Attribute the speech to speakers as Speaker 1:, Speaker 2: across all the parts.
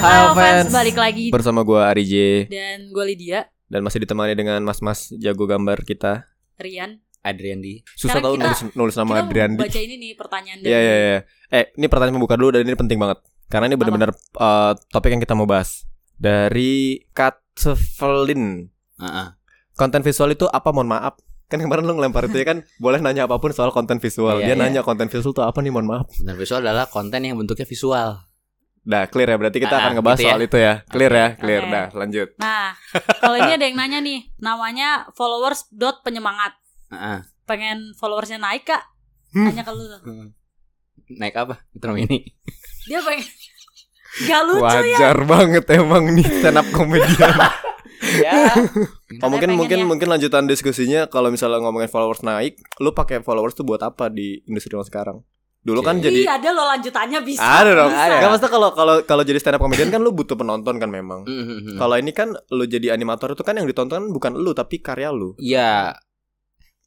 Speaker 1: Halo fans, balik lagi
Speaker 2: Bersama gue Ari J
Speaker 1: dan gue Lydia,
Speaker 2: Dan masih ditemani dengan mas-mas jago gambar kita
Speaker 1: Rian.
Speaker 3: Adrian di
Speaker 2: Susah
Speaker 1: Sekarang
Speaker 2: tau
Speaker 1: kita-
Speaker 2: nulis, nulis nama
Speaker 1: Kita
Speaker 2: Adrian
Speaker 1: mau baca ini nih pertanyaan dari
Speaker 2: Iya iya iya Eh ini pertanyaan pembuka dulu dan ini penting banget Karena ini benar-benar eh, topik yang kita mau bahas Dari Katsevelin
Speaker 3: Heeh.
Speaker 2: Konten visual itu apa mohon maaf Kan kemarin lu ngelempar itu ya kan Boleh nanya apapun soal konten visual
Speaker 3: Iya,
Speaker 2: Dia
Speaker 3: iya.
Speaker 2: nanya konten visual itu apa nih mohon maaf
Speaker 3: Konten visual adalah konten yang bentuknya visual.
Speaker 2: Dah clear ya berarti kita
Speaker 3: Ah,
Speaker 2: akan ngebahas
Speaker 3: gitu ya.
Speaker 2: soal itu ya Clear ya clear
Speaker 1: Oke.
Speaker 2: Dah lanjut
Speaker 1: Nah, kalau ini ada yang nanya nih, namanya followers dot penyemangat.
Speaker 3: Heeh.
Speaker 1: Pengen followersnya naik kak?
Speaker 2: Hmm.
Speaker 1: Nanya kalau
Speaker 3: Naik apa? Metro Mini.
Speaker 1: dia pengen Gak lucu ya
Speaker 2: Wajar banget emang nih stand up comedian
Speaker 3: ya.
Speaker 1: Katanya
Speaker 2: Oh, mungkin
Speaker 1: pengen
Speaker 2: mungkin
Speaker 1: ya.
Speaker 2: mungkin lanjutan diskusinya kalau misalnya ngomongin followers naik, lu pakai followers tuh buat apa di industri lo sekarang? Dulu kan
Speaker 3: Iya.
Speaker 2: jadi Ah, ya,
Speaker 1: Iya ada loh lanjutannya bisa
Speaker 2: ada dong.
Speaker 1: bisa.
Speaker 2: Nggak, maksudnya kalau kalau kalau jadi stand up comedian kan lu butuh penonton kan memang. Kalau ini kan lu jadi animator itu kan yang ditonton kan bukan lu tapi karya lu.
Speaker 3: Iya.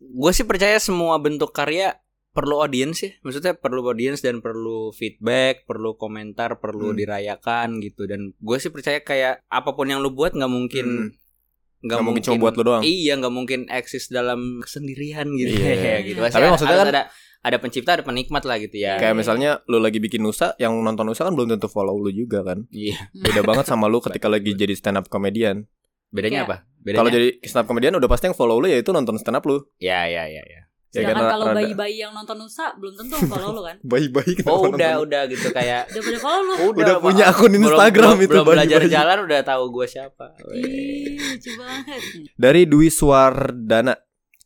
Speaker 3: Gue sih percaya semua bentuk karya perlu audiens ya. Maksudnya perlu audiens dan perlu feedback, perlu komentar, perlu
Speaker 2: Hmm.
Speaker 3: dirayakan gitu. Dan gue sih percaya kayak apapun yang lu buat nggak mungkin
Speaker 2: Hmm.
Speaker 3: nggak
Speaker 2: Gak, mungkin cuma buat lu doang.
Speaker 3: Iya, nggak mungkin eksis dalam kesendirian gitu.
Speaker 2: Iya.
Speaker 3: Iya, gitu. Pasti
Speaker 2: Tapi
Speaker 3: ada-
Speaker 2: maksudnya
Speaker 3: harus
Speaker 2: kan-
Speaker 3: ada ada pencipta, ada penikmat lah gitu ya.
Speaker 2: Kayak misalnya lu lagi bikin Nusa, yang nonton Nusa kan belum tentu follow lu juga kan.
Speaker 3: Iya.
Speaker 2: Beda banget sama lu ketika lagi jadi stand up comedian.
Speaker 3: Bedanya
Speaker 1: Kayak-
Speaker 3: apa? Bedanya.
Speaker 2: Kalau jadi stand up comedian udah pasti yang follow lu yaitu nonton stand up lu.
Speaker 3: ya ya ya ya.
Speaker 2: Ya,
Speaker 1: Sedangkan
Speaker 2: karena
Speaker 1: kalau
Speaker 2: rada-
Speaker 1: bayi-bayi yang nonton Nusa Belum tentu follow lo kan
Speaker 2: Bayi-bayi kenapa
Speaker 3: Oh,
Speaker 2: nonton?
Speaker 3: udah udah gitu kayak
Speaker 1: Udah pada follow lo
Speaker 2: Udah punya akun
Speaker 3: belum-
Speaker 2: Instagram
Speaker 3: belum-
Speaker 2: itu,
Speaker 3: belum belajar
Speaker 2: bayi-bayi.
Speaker 3: jalan udah tahu gue siapa.
Speaker 2: Oh, iya,
Speaker 3: Weh.
Speaker 1: Ih lucu banget
Speaker 2: Dari Dwi Suwardana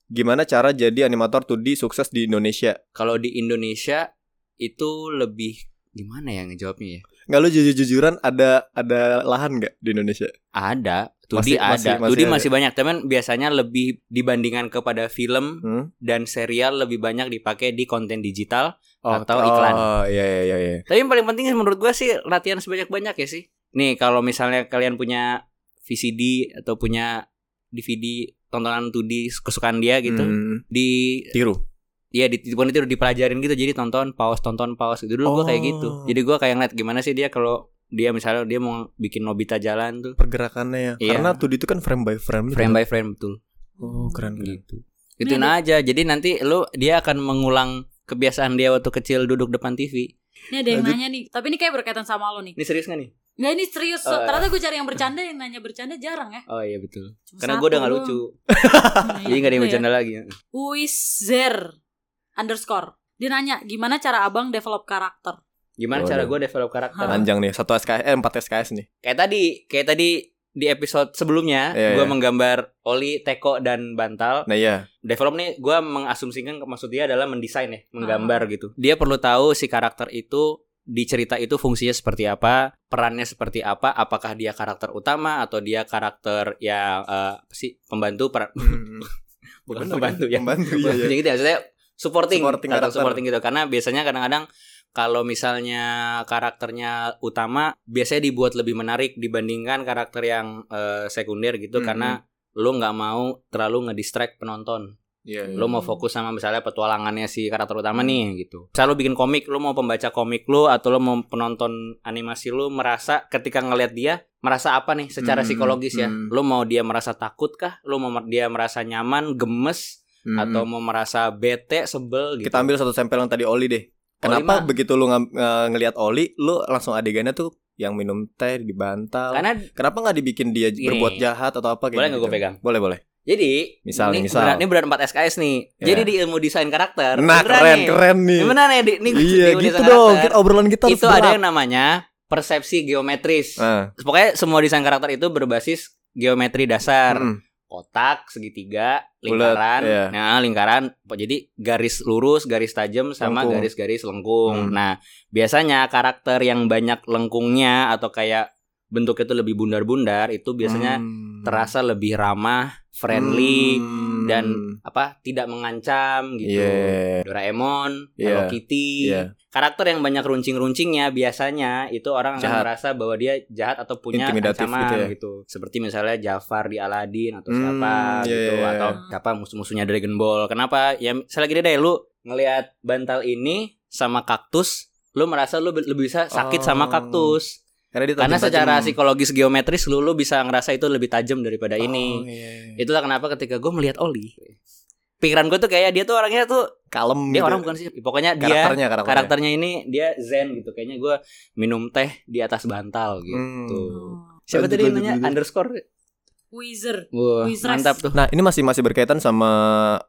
Speaker 2: Gimana cara jadi animator 2D sukses di Indonesia?
Speaker 3: Kalau di Indonesia itu lebih gimana ya ngejawabnya ya?
Speaker 2: Nggak lu jujur-jujuran ada ada lahan nggak di Indonesia?
Speaker 3: Ada, Tudi
Speaker 2: Masih- masih-
Speaker 3: ada,
Speaker 2: masih
Speaker 3: Tudi
Speaker 2: ada.
Speaker 3: masih banyak. Temen biasanya lebih dibandingkan kepada film
Speaker 2: Hmm?
Speaker 3: dan serial lebih banyak dipakai di konten digital. Atau iklan.
Speaker 2: Oh iya iya iya. iya.
Speaker 3: Tapi yang paling penting menurut gue sih latihan sebanyak-banyak ya sih. Nih kalau misalnya kalian punya VCD atau punya DVD tontonan 2D kesukaan dia gitu
Speaker 2: Hmm.
Speaker 3: di
Speaker 2: Tiru.
Speaker 3: Iya di bukan itu dipelajarin gitu jadi tonton pause tonton pause gitu dulu gua kayak gitu.
Speaker 2: Oh.
Speaker 3: Jadi gua kayak ngeliat gimana sih dia kalau dia misalnya dia mau bikin Nobita jalan tuh
Speaker 2: Pergerakannya ya.
Speaker 3: Iya.
Speaker 2: Karena 2D itu kan frame by frame.
Speaker 3: frame by frame betul
Speaker 2: Oh keren keren.
Speaker 3: gitu. Ituin aja. Jadi nanti lu dia akan mengulang kebiasaan dia waktu kecil duduk depan TV.
Speaker 1: Ini ada yang
Speaker 2: Lanjut.
Speaker 1: nanya nih Tapi ini kayak berkaitan sama lo nih
Speaker 3: Ini serius gak nih?
Speaker 1: Nggak ini serius
Speaker 2: Eh.
Speaker 3: Oh, iya.
Speaker 1: Ternyata gue cari yang bercanda Yang nanya bercanda jarang ya
Speaker 3: Oh iya betul.
Speaker 1: Cuma
Speaker 3: Karena
Speaker 1: satu
Speaker 3: gua udah gak
Speaker 1: doang.
Speaker 3: lucu.
Speaker 1: Nah,
Speaker 3: Jadi gak ada
Speaker 1: iya
Speaker 3: yang
Speaker 1: juga ya.
Speaker 3: bercanda lagi.
Speaker 1: Uizer underscore Dia nanya Gimana cara abang develop karakter
Speaker 3: Gimana
Speaker 2: Waduh.
Speaker 3: cara gua develop karakter?
Speaker 1: Hah.
Speaker 2: Panjang nih. Satu SKS, eh, empat SKS nih.
Speaker 3: Kayak tadi, kayak tadi di episode sebelumnya
Speaker 2: Iya,
Speaker 3: gua
Speaker 2: iya.
Speaker 3: menggambar oli, teko dan bantal.
Speaker 2: Nah iya.
Speaker 3: develop nih gue mengasumsikan ke- maksud dia adalah mendesain ya menggambar gitu dia perlu tahu si karakter itu di cerita itu fungsinya seperti apa perannya seperti apa apakah dia karakter utama atau dia karakter ya eh, apa sih pembantu per bukan pembantu ya
Speaker 2: Pembantu iya
Speaker 3: Bukan
Speaker 2: iya.
Speaker 3: gitu ya maksudnya supporting
Speaker 2: Supporting
Speaker 3: karakter
Speaker 2: karakter.
Speaker 3: supporting gitu karena biasanya kadang-kadang kalau misalnya karakternya utama biasanya dibuat lebih menarik dibandingkan karakter yang eh, sekunder gitu
Speaker 2: Mhm.
Speaker 3: karena lo nggak mau terlalu ngedistract penonton
Speaker 2: Iya, iya.
Speaker 3: lo mau
Speaker 1: Hmm.
Speaker 3: fokus sama misalnya petualangannya si karakter utama nih gitu. Misalnya lo bikin komik, lo mau pembaca komik lo atau lo mau penonton animasi lo merasa ketika ngelihat dia merasa apa nih secara
Speaker 2: Hmm,
Speaker 3: psikologis ya?
Speaker 2: hmm.
Speaker 3: Lo mau dia merasa takut kah? Lo mau mer- dia merasa nyaman, gemes
Speaker 2: Hmm.
Speaker 3: atau mau merasa bete, sebel gitu.
Speaker 2: Kita ambil satu sampel yang tadi Oli deh. Kenapa
Speaker 3: mah-
Speaker 2: begitu lu ngam- eh, ngelihat Oli, lu langsung adegannya tuh yang minum teh di bantal.
Speaker 3: Karena
Speaker 2: Kenapa nggak dibikin dia
Speaker 3: Gini.
Speaker 2: berbuat jahat atau apa kayak
Speaker 3: boleh nggak
Speaker 2: gitu?
Speaker 3: gue pegang?
Speaker 2: Boleh boleh.
Speaker 3: Jadi,
Speaker 2: Misal nih,
Speaker 3: ini
Speaker 2: misal.
Speaker 3: beneran- ini beran 4 SKS nih.
Speaker 2: Ya.
Speaker 3: Jadi di ilmu desain karakter, beneran
Speaker 2: Nah keren
Speaker 3: nih.
Speaker 2: keren nih.
Speaker 3: Ini beneran ya, di, ini
Speaker 2: Iya
Speaker 3: ilmu
Speaker 2: gitu
Speaker 3: desain
Speaker 2: dong.
Speaker 3: karakter.
Speaker 2: Kita obrolan kita harus
Speaker 3: itu ada
Speaker 2: berat.
Speaker 3: yang namanya persepsi geometris.
Speaker 2: Ah,
Speaker 3: pokoknya semua desain karakter itu berbasis geometri dasar
Speaker 2: mm,
Speaker 3: kotak segitiga
Speaker 2: Bulat,
Speaker 3: lingkaran
Speaker 2: iya.
Speaker 3: nah lingkaran jadi garis lurus garis tajam sama
Speaker 2: Lengkung.
Speaker 3: garis-garis lengkung
Speaker 2: Hmm.
Speaker 3: nah biasanya karakter yang banyak lengkungnya atau kayak bentuknya itu lebih bundar-bundar itu biasanya
Speaker 2: mm,
Speaker 3: terasa lebih ramah friendly
Speaker 2: mm,
Speaker 3: dan- apa tidak mengancam gitu
Speaker 2: Iya.
Speaker 3: Doraemon
Speaker 2: Iya.
Speaker 3: Hello Kitty
Speaker 2: Iya.
Speaker 3: karakter yang banyak runcing-runcingnya biasanya itu orang akan
Speaker 2: Jahat.
Speaker 3: merasa bahwa dia jahat atau punya
Speaker 2: Intimidatif
Speaker 3: ancaman
Speaker 2: gitu
Speaker 3: gitu,
Speaker 2: ya.
Speaker 3: Seperti misalnya Jafar di Aladdin atau
Speaker 2: Hmm,
Speaker 3: siapa
Speaker 2: iya,
Speaker 3: gitu
Speaker 2: iya, iya.
Speaker 3: atau siapa musuh-musuhnya Dragon Ball. Kenapa? Ya misalnya gini deh lu ngelihat bantal ini sama kaktus lu merasa lu be- lebih bisa sakit sama
Speaker 2: Oh.
Speaker 3: kaktus
Speaker 2: Karena, dia
Speaker 3: karena
Speaker 2: tajam-tajam.
Speaker 3: secara psikologis geometris lu lu bisa ngerasa itu lebih tajam daripada
Speaker 2: Oh,
Speaker 3: ini
Speaker 2: iya, iya.
Speaker 3: itulah kenapa ketika gue melihat Oli pikiran gue tuh kayak dia tuh orangnya tuh
Speaker 2: kalem
Speaker 3: dia
Speaker 2: gitu.
Speaker 3: orang bukan sih pokoknya dia
Speaker 2: karakternya karakternya.
Speaker 3: karakternya ini dia zen gitu kayaknya gue minum teh di atas bantal gitu
Speaker 1: Oh.
Speaker 3: siapa
Speaker 2: Hmm. Lanjut,
Speaker 3: tadi
Speaker 2: lanjut,
Speaker 3: namanya
Speaker 2: lanjut.
Speaker 3: underscore
Speaker 1: Wizard.
Speaker 3: Wah,
Speaker 1: Wizards.
Speaker 3: mantap tuh
Speaker 2: Nah, ini masih masih berkaitan sama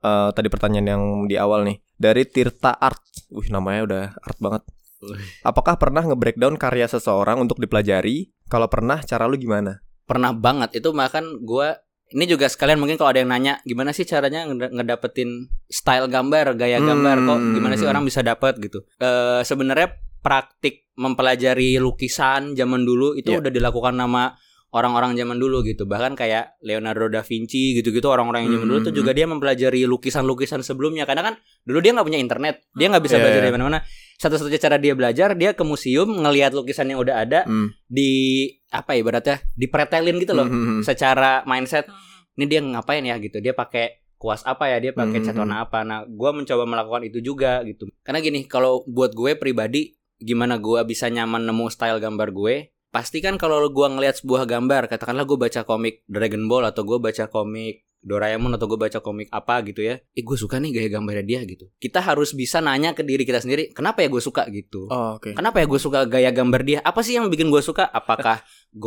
Speaker 2: eh, tadi pertanyaan yang di awal nih dari Tirta Art. Wih, namanya udah art banget.
Speaker 3: Wih.
Speaker 2: Apakah pernah nge-breakdown karya seseorang untuk dipelajari? Kalau pernah, cara lu gimana?
Speaker 3: pernah banget itu makan gua ini juga sekalian mungkin kalau ada yang nanya gimana sih caranya ngeda- ngedapetin style gambar gaya gambar kok
Speaker 2: Hmm.
Speaker 3: gimana sih orang bisa dapat gitu Eh sebenarnya praktik mempelajari lukisan zaman dulu itu
Speaker 2: Iya.
Speaker 3: udah dilakukan sama orang-orang zaman dulu gitu bahkan kayak Leonardo da Vinci gitu-gitu orang-orang yang zaman dulu tuh
Speaker 2: Hmm.
Speaker 3: juga dia mempelajari lukisan-lukisan sebelumnya karena kan dulu dia nggak punya internet dia nggak bisa
Speaker 2: Iya,
Speaker 3: belajar
Speaker 2: iya.
Speaker 3: dari mana-mana satu-satunya cara dia belajar dia ke museum ngelihat lukisan yang udah ada
Speaker 2: Hmm.
Speaker 3: di apa ya ibaratnya dipretelin gitu loh
Speaker 2: Hmm.
Speaker 3: secara mindset
Speaker 1: Hmm.
Speaker 3: ini dia ngapain ya gitu dia pakai kuas apa ya dia pakai
Speaker 2: Hmm.
Speaker 3: cat warna apa nah gue mencoba melakukan itu juga gitu karena gini kalau buat gue pribadi gimana gue bisa nyaman nemu style gambar gue pasti kan kalau gue ngelihat sebuah gambar katakanlah gue baca komik Dragon Ball atau gue baca komik Doraemon atau gue baca komik apa gitu ya eh gue suka nih gaya gambarnya dia gitu kita harus bisa nanya ke diri kita sendiri kenapa ya gue suka gitu
Speaker 2: Oh, oke.
Speaker 3: Kenapa ya gue suka gaya gambar dia? Apa sih yang bikin gue suka? Apakah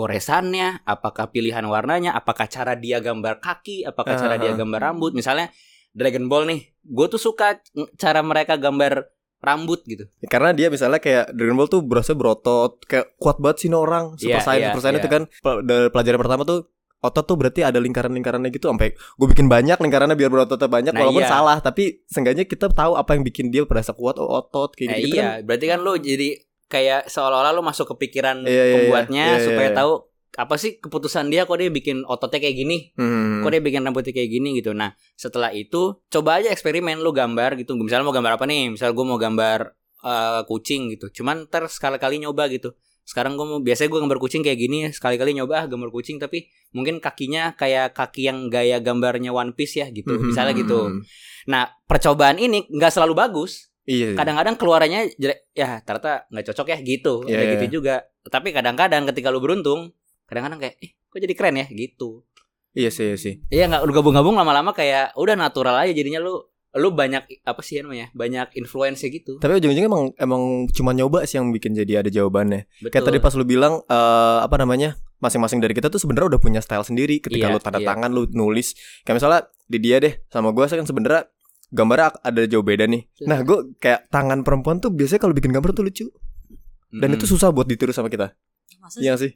Speaker 3: goresannya? Apakah pilihan warnanya? Apakah cara dia gambar kaki? Apakah cara dia
Speaker 2: Ah.
Speaker 3: gambar rambut? Misalnya Dragon Ball nih, gue tuh suka cara mereka gambar rambut gitu.
Speaker 2: Ya, Karena dia misalnya kayak Dragon Ball tuh berasa berotot, kayak kuat banget sih ini orang. Super
Speaker 3: Iya,
Speaker 2: Saiyan,
Speaker 3: iya,
Speaker 2: Super Saiyan
Speaker 3: iya.
Speaker 2: itu kan pel- dari pelajaran pertama tuh otot tuh berarti ada lingkaran-lingkarannya gitu sampai gue bikin banyak lingkarannya biar berototnya banyak
Speaker 3: Nah,
Speaker 2: walaupun
Speaker 3: iya.
Speaker 2: salah tapi seenggaknya kita tahu apa yang bikin dia berasa kuat oh, otot
Speaker 3: Eh,
Speaker 2: kayak gitu,
Speaker 3: iya, berarti kan lo jadi kayak seolah-olah lo masuk ke pikiran
Speaker 2: Iya, iya,
Speaker 3: pembuatnya
Speaker 2: iya, iya,
Speaker 3: supaya
Speaker 2: iya.
Speaker 3: tahu apa sih keputusan dia kok dia bikin ototnya kayak gini.
Speaker 2: Hmm.
Speaker 3: kok dia bikin rambutnya kayak gini gitu nah setelah itu coba aja eksperimen lu gambar gitu misalnya mau gambar apa nih misal gue mau gambar eh, kucing gitu cuman ter sekali-kali nyoba gitu sekarang gue mau biasanya gue gambar kucing kayak gini sekali-kali nyoba ah, gambar kucing tapi mungkin kakinya kayak kaki yang gaya gambarnya One Piece ya gitu
Speaker 2: Mhm.
Speaker 3: misalnya gitu nah percobaan ini nggak selalu bagus
Speaker 2: Iya. iya.
Speaker 3: kadang-kadang keluarannya jelek ya ternyata nggak cocok ya gitu
Speaker 2: Iya,
Speaker 3: Ada
Speaker 2: iya.
Speaker 3: gitu juga tapi kadang-kadang ketika lu beruntung kadang-kadang kayak eh kok jadi keren ya gitu
Speaker 2: Iya sih, iya sih.
Speaker 3: Iya nggak lu gabung-gabung lama-lama kayak udah natural aja jadinya lu lu banyak apa sih namanya banyak influence gitu.
Speaker 2: Tapi ujung-ujungnya emang emang cuma nyoba sih yang bikin jadi ada jawabannya.
Speaker 3: Betul.
Speaker 2: Kayak tadi pas lu bilang eh, apa namanya? masing-masing dari kita tuh sebenarnya udah punya style sendiri ketika
Speaker 3: Iya,
Speaker 2: lu tanda
Speaker 3: iya.
Speaker 2: tangan lu nulis. Kayak misalnya di dia deh sama gua saya kan sebenarnya gambarnya ak- ada jauh beda nih.
Speaker 3: Iya.
Speaker 2: Nah, gua kayak tangan perempuan tuh biasanya kalau bikin gambar tuh lucu dan
Speaker 3: Hmm.
Speaker 2: itu susah buat ditiru sama kita.
Speaker 1: Masa
Speaker 2: Iya nggak sih?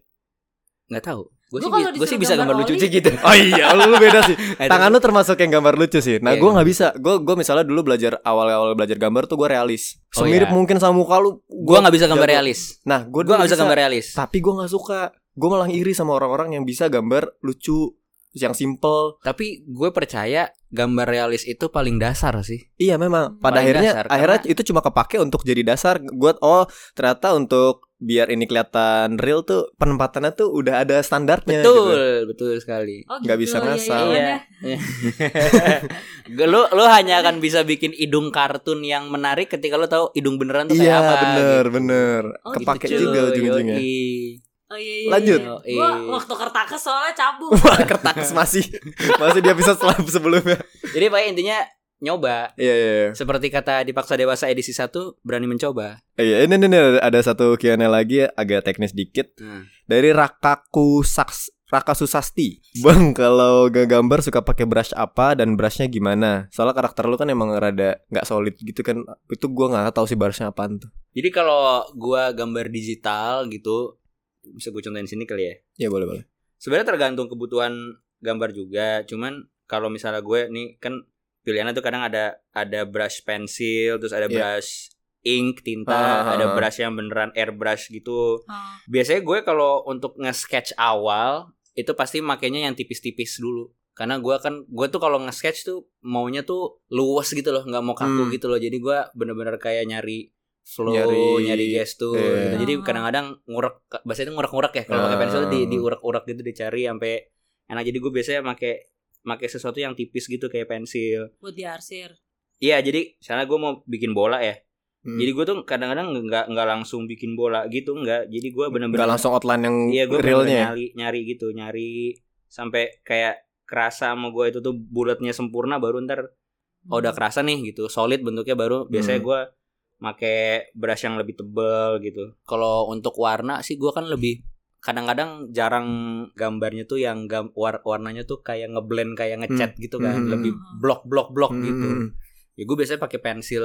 Speaker 3: nggak tahu. Gue
Speaker 1: Gua
Speaker 3: sih,
Speaker 1: kalau
Speaker 3: bi- gua sih
Speaker 1: disuruh
Speaker 3: bisa
Speaker 1: gambar
Speaker 3: gambar lucu
Speaker 1: oli-
Speaker 3: sih gitu.
Speaker 2: Oh iya, lu beda sih. Tangan lu termasuk yang gambar lucu sih. Nah,
Speaker 3: Iya,
Speaker 2: gua nggak bisa. Gua gua misalnya dulu belajar awal-awal belajar gambar tuh gua realis.
Speaker 3: Oh,
Speaker 2: Semirip
Speaker 3: iya.
Speaker 2: mungkin sama muka lu.
Speaker 3: gue nggak bisa gambar
Speaker 2: jago.
Speaker 3: realis.
Speaker 2: Nah,
Speaker 3: Gue
Speaker 2: gua dulu
Speaker 3: nggak bisa gambar realis.
Speaker 2: tapi gue nggak suka gue malah iri sama orang-orang yang bisa gambar lucu terus yang simple
Speaker 3: Tapi gue percaya gambar realis itu paling dasar sih.
Speaker 2: iya memang pada
Speaker 3: Paling
Speaker 2: akhirnya
Speaker 3: dasar,
Speaker 2: akhirnya itu cuma kepake untuk jadi dasar gue oh ternyata untuk biar ini kelihatan real tuh penempatannya tuh udah ada standarnya gitu.
Speaker 3: Betul, betul sekali.
Speaker 1: Oh,
Speaker 2: Nggak bisa
Speaker 1: Iya, iya,
Speaker 2: ngasal.
Speaker 1: iya,
Speaker 3: Iya.
Speaker 1: iya.
Speaker 3: Lu lu hanya akan bisa bikin hidung kartun yang menarik ketika lu tahu hidung beneran tuh
Speaker 2: gitu.
Speaker 3: kayak
Speaker 2: iya
Speaker 3: apa.
Speaker 2: bener
Speaker 3: gitu.
Speaker 2: bener
Speaker 1: Oh, gitu,
Speaker 2: kepake
Speaker 1: cuy.
Speaker 2: juga ujung-ujungnya
Speaker 3: Yoi.
Speaker 1: Oh, iya, iya,
Speaker 2: Lanjut.
Speaker 1: iya. Gua
Speaker 3: Yoi.
Speaker 1: waktu kertakes soalnya cabut.
Speaker 2: Wah kertas masih masih dia bisa selap sebelumnya
Speaker 3: Jadi pakai intinya nyoba.
Speaker 2: iya iya iya.
Speaker 3: Seperti kata dipaksa dewasa edisi 1 berani mencoba.
Speaker 2: iya ini ini, ini ada satu kiannya lagi agak teknis dikit dari Rakaku Saks Raka Susasti Bang kalau nggak gambar suka pakai brush apa dan brushnya gimana Soalnya karakter lu kan emang rada nggak solid gitu kan Itu gua nggak tahu sih brushnya apaan tuh
Speaker 3: Jadi kalau gua gambar digital gitu bisa gue contohin sini kali ya.
Speaker 2: Ya boleh boleh
Speaker 3: Sebenarnya tergantung kebutuhan gambar juga. Cuman kalau misalnya gue nih kan pilihannya tuh kadang ada ada brush pensil, terus ada
Speaker 2: Iya.
Speaker 3: brush ink tinta,
Speaker 2: Ah, ah,
Speaker 3: ada
Speaker 2: ah.
Speaker 3: brush yang beneran airbrush gitu.
Speaker 1: Ah.
Speaker 3: Biasanya gue kalau untuk nge-sketch awal itu pasti makainya yang tipis-tipis dulu. Karena gue kan gue tuh kalau nge-sketch tuh maunya tuh luas gitu loh, nggak mau kaku
Speaker 2: Hmm.
Speaker 3: gitu loh. Jadi gue bener-bener kayak nyari flow,
Speaker 2: Nyari-
Speaker 3: nyari, gestur.
Speaker 2: Iya.
Speaker 3: gitu. Jadi kadang-kadang ngurek, bahasanya itu ngurek-ngurek ya. Kalau pakai
Speaker 2: Ah.
Speaker 3: pensil di diurek-urek gitu dicari sampai enak. Jadi gue biasanya pakai pakai sesuatu yang tipis gitu kayak pensil.
Speaker 1: Buat diarsir.
Speaker 3: Iya, jadi misalnya gue mau bikin bola ya.
Speaker 2: Hmm.
Speaker 3: Jadi gue tuh kadang-kadang nggak nggak langsung bikin bola gitu nggak. Jadi gue
Speaker 2: Gak
Speaker 3: bener-bener
Speaker 2: langsung outline yang
Speaker 3: Iya gue
Speaker 2: realnya. ya?
Speaker 3: nyari nyari gitu nyari sampai kayak kerasa sama gue itu tuh bulatnya sempurna baru ntar oh, udah kerasa nih gitu solid bentuknya baru biasanya
Speaker 2: Hmm.
Speaker 3: gue make brush yang lebih tebel gitu. Kalau untuk warna sih gue kan lebih kadang-kadang jarang gambarnya tuh yang gam- war- warnanya tuh kayak ngeblend kayak ngecat gitu kan
Speaker 2: Hmm.
Speaker 3: lebih blok blok blok gitu.
Speaker 2: Hmm.
Speaker 3: Ya gue biasanya pakai pensil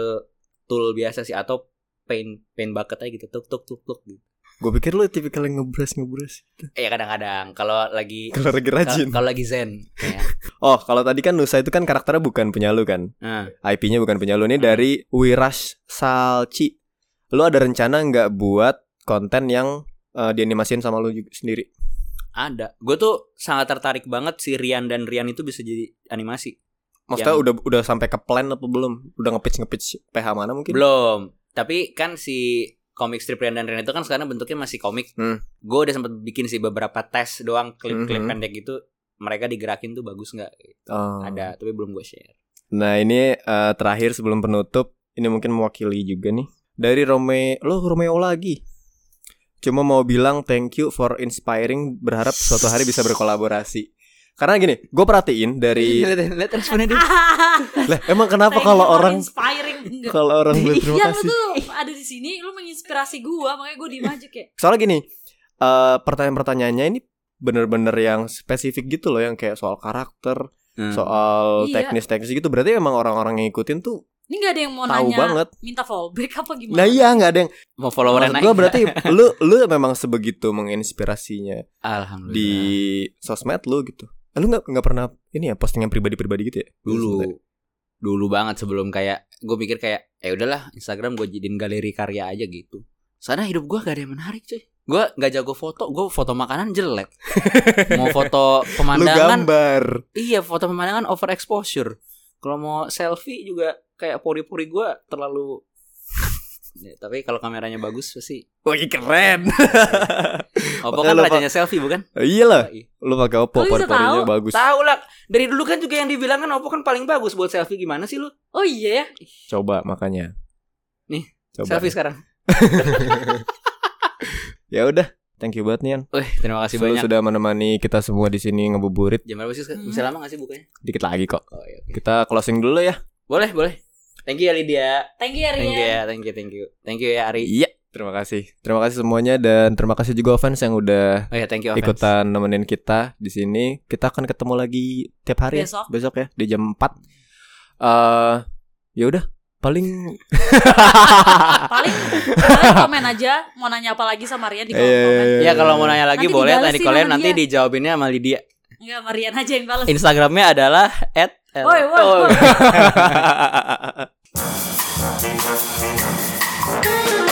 Speaker 3: tool biasa sih atau paint paint bucket aja gitu tuk tuk tuk tuk gitu.
Speaker 2: Gue pikir lu tipikal yang ngebrush ngebrush.
Speaker 3: Eh kadang-kadang kalau lagi
Speaker 2: Kalau lagi rajin.
Speaker 3: Kal- Kalau lagi zen. Ya.
Speaker 2: Oh, kalau tadi kan Nusa itu kan karakternya bukan punya lu kan.
Speaker 3: Nah,
Speaker 2: IP-nya bukan punya lu ini
Speaker 3: Hmm.
Speaker 2: dari Wirash Salci. Lu ada rencana nggak buat konten yang eh, dianimasiin sama lu ju- sendiri?
Speaker 3: ada. Gue tuh sangat tertarik banget si Rian dan Rian itu bisa jadi animasi.
Speaker 2: Maksudnya
Speaker 3: Yang-
Speaker 2: udah udah sampai ke plan apa belum? Udah ngepitch ngepitch PH mana mungkin?
Speaker 3: Belum. Tapi kan si komik strip Rian dan Rian itu kan sekarang bentuknya masih komik.
Speaker 2: Hmm.
Speaker 3: Gue udah sempet bikin sih beberapa tes doang klip-klip
Speaker 2: Mhm.
Speaker 3: pendek gitu. Mereka digerakin tuh bagus nggak?
Speaker 2: Oh.
Speaker 3: Ada, tapi belum gue share.
Speaker 2: Nah ini eh, terakhir sebelum penutup ini mungkin mewakili juga nih dari Romeo lo Romeo lagi. Cuma mau bilang thank you for inspiring. Berharap suatu hari bisa berkolaborasi. Karena gini, gue perhatiin dari
Speaker 3: Lihat responnya
Speaker 2: lah emang kenapa
Speaker 1: Thank
Speaker 2: kalau
Speaker 1: you for
Speaker 2: orang
Speaker 1: inspiring enggak?
Speaker 2: kalau orang bilang terima
Speaker 1: Ya lu
Speaker 2: kasih.
Speaker 1: tuh ada di sini, lu menginspirasi gua, makanya gua diem aja kayak.
Speaker 2: Soalnya gini, eh pertanyaan-pertanyaannya ini bener-bener yang spesifik gitu loh yang kayak soal karakter,
Speaker 3: Hmm.
Speaker 2: soal
Speaker 1: Iya.
Speaker 2: teknis-teknis gitu. Berarti emang orang-orang yang ngikutin tuh
Speaker 1: Ini nggak ada yang mau
Speaker 2: tahu
Speaker 1: nanya
Speaker 2: banget.
Speaker 1: minta fallback apa gimana?
Speaker 2: Nah iya nggak ada yang
Speaker 3: Mau followernya
Speaker 2: Maksud
Speaker 3: naik.
Speaker 2: gue
Speaker 3: nggak?
Speaker 2: berarti lu lu memang sebegitu menginspirasinya
Speaker 3: Alhamdulillah.
Speaker 2: di
Speaker 3: Iya.
Speaker 2: sosmed lu gitu. Eh, Lu nggak nggak pernah ini ya postingan pribadi-pribadi gitu ya?
Speaker 3: dulu dulu banget sebelum kayak gue mikir kayak ya udahlah Instagram gue jadiin galeri karya aja gitu sana hidup gue gak ada yang menarik cuy gue nggak jago foto gue foto makanan jelek mau foto
Speaker 2: Lu
Speaker 3: pemandangan
Speaker 2: gambar.
Speaker 3: iya foto pemandangan overexposure kalau mau selfie juga kayak pori-pori gue terlalu Ya, tapi kalau kameranya bagus pasti Iya,
Speaker 2: Wih keren.
Speaker 3: Oppo
Speaker 2: Makanya
Speaker 3: kan
Speaker 2: lo,
Speaker 3: rajanya selfie bukan?
Speaker 2: iya lah.
Speaker 3: Iya.
Speaker 2: Lu pakai
Speaker 1: Lu
Speaker 2: Oppo
Speaker 1: bisa tahu?
Speaker 2: pori-porinya bagus.
Speaker 3: Tahu lah. Dari dulu kan juga yang dibilang kan Oppo kan paling bagus buat selfie gimana sih lu?
Speaker 1: Oh iya ya.
Speaker 2: Coba makanya.
Speaker 3: Nih,
Speaker 2: Coba.
Speaker 3: Selfie sekarang.
Speaker 2: Ya udah. Thank you banget Nian.
Speaker 3: Wih, terima kasih
Speaker 2: Lu
Speaker 3: banyak.
Speaker 2: sudah menemani kita semua di sini ngebuburit.
Speaker 3: Jam berapa sih?
Speaker 1: Hmm.
Speaker 3: Bisa lama gak sih bukanya?
Speaker 2: Dikit lagi kok.
Speaker 3: Oh, iya, oke.
Speaker 2: Kita closing dulu ya.
Speaker 3: Boleh, boleh. Thank you ya Lydia.
Speaker 1: Thank you ya
Speaker 3: Thank you
Speaker 1: Rian.
Speaker 3: ya, thank you, thank you. Thank you ya Ari.
Speaker 2: Iya. Terima kasih. Terima kasih semuanya dan terima kasih juga fans yang udah
Speaker 3: Oh ya, thank you offense.
Speaker 2: ikutan nemenin kita di sini. Kita akan ketemu lagi tiap hari ya.
Speaker 1: Besok.
Speaker 2: besok ya di jam 4. Eh ya udah paling
Speaker 1: Paling kalian komen aja mau nanya apa lagi sama Rian di
Speaker 2: Iya,
Speaker 1: kolom komen.
Speaker 2: Eh,
Speaker 3: Ya kalau mau nanya lagi
Speaker 1: Nanti
Speaker 3: boleh
Speaker 1: dibalesin
Speaker 3: tadi kalian
Speaker 1: sama
Speaker 3: nanti
Speaker 1: dia.
Speaker 3: dijawabinnya sama Lydia.
Speaker 1: Enggak, sama Rian aja yang
Speaker 3: Iya.
Speaker 1: balas.
Speaker 3: Instagramnya adalah at Oh,
Speaker 1: Woi, woi, woi.
Speaker 2: nanya.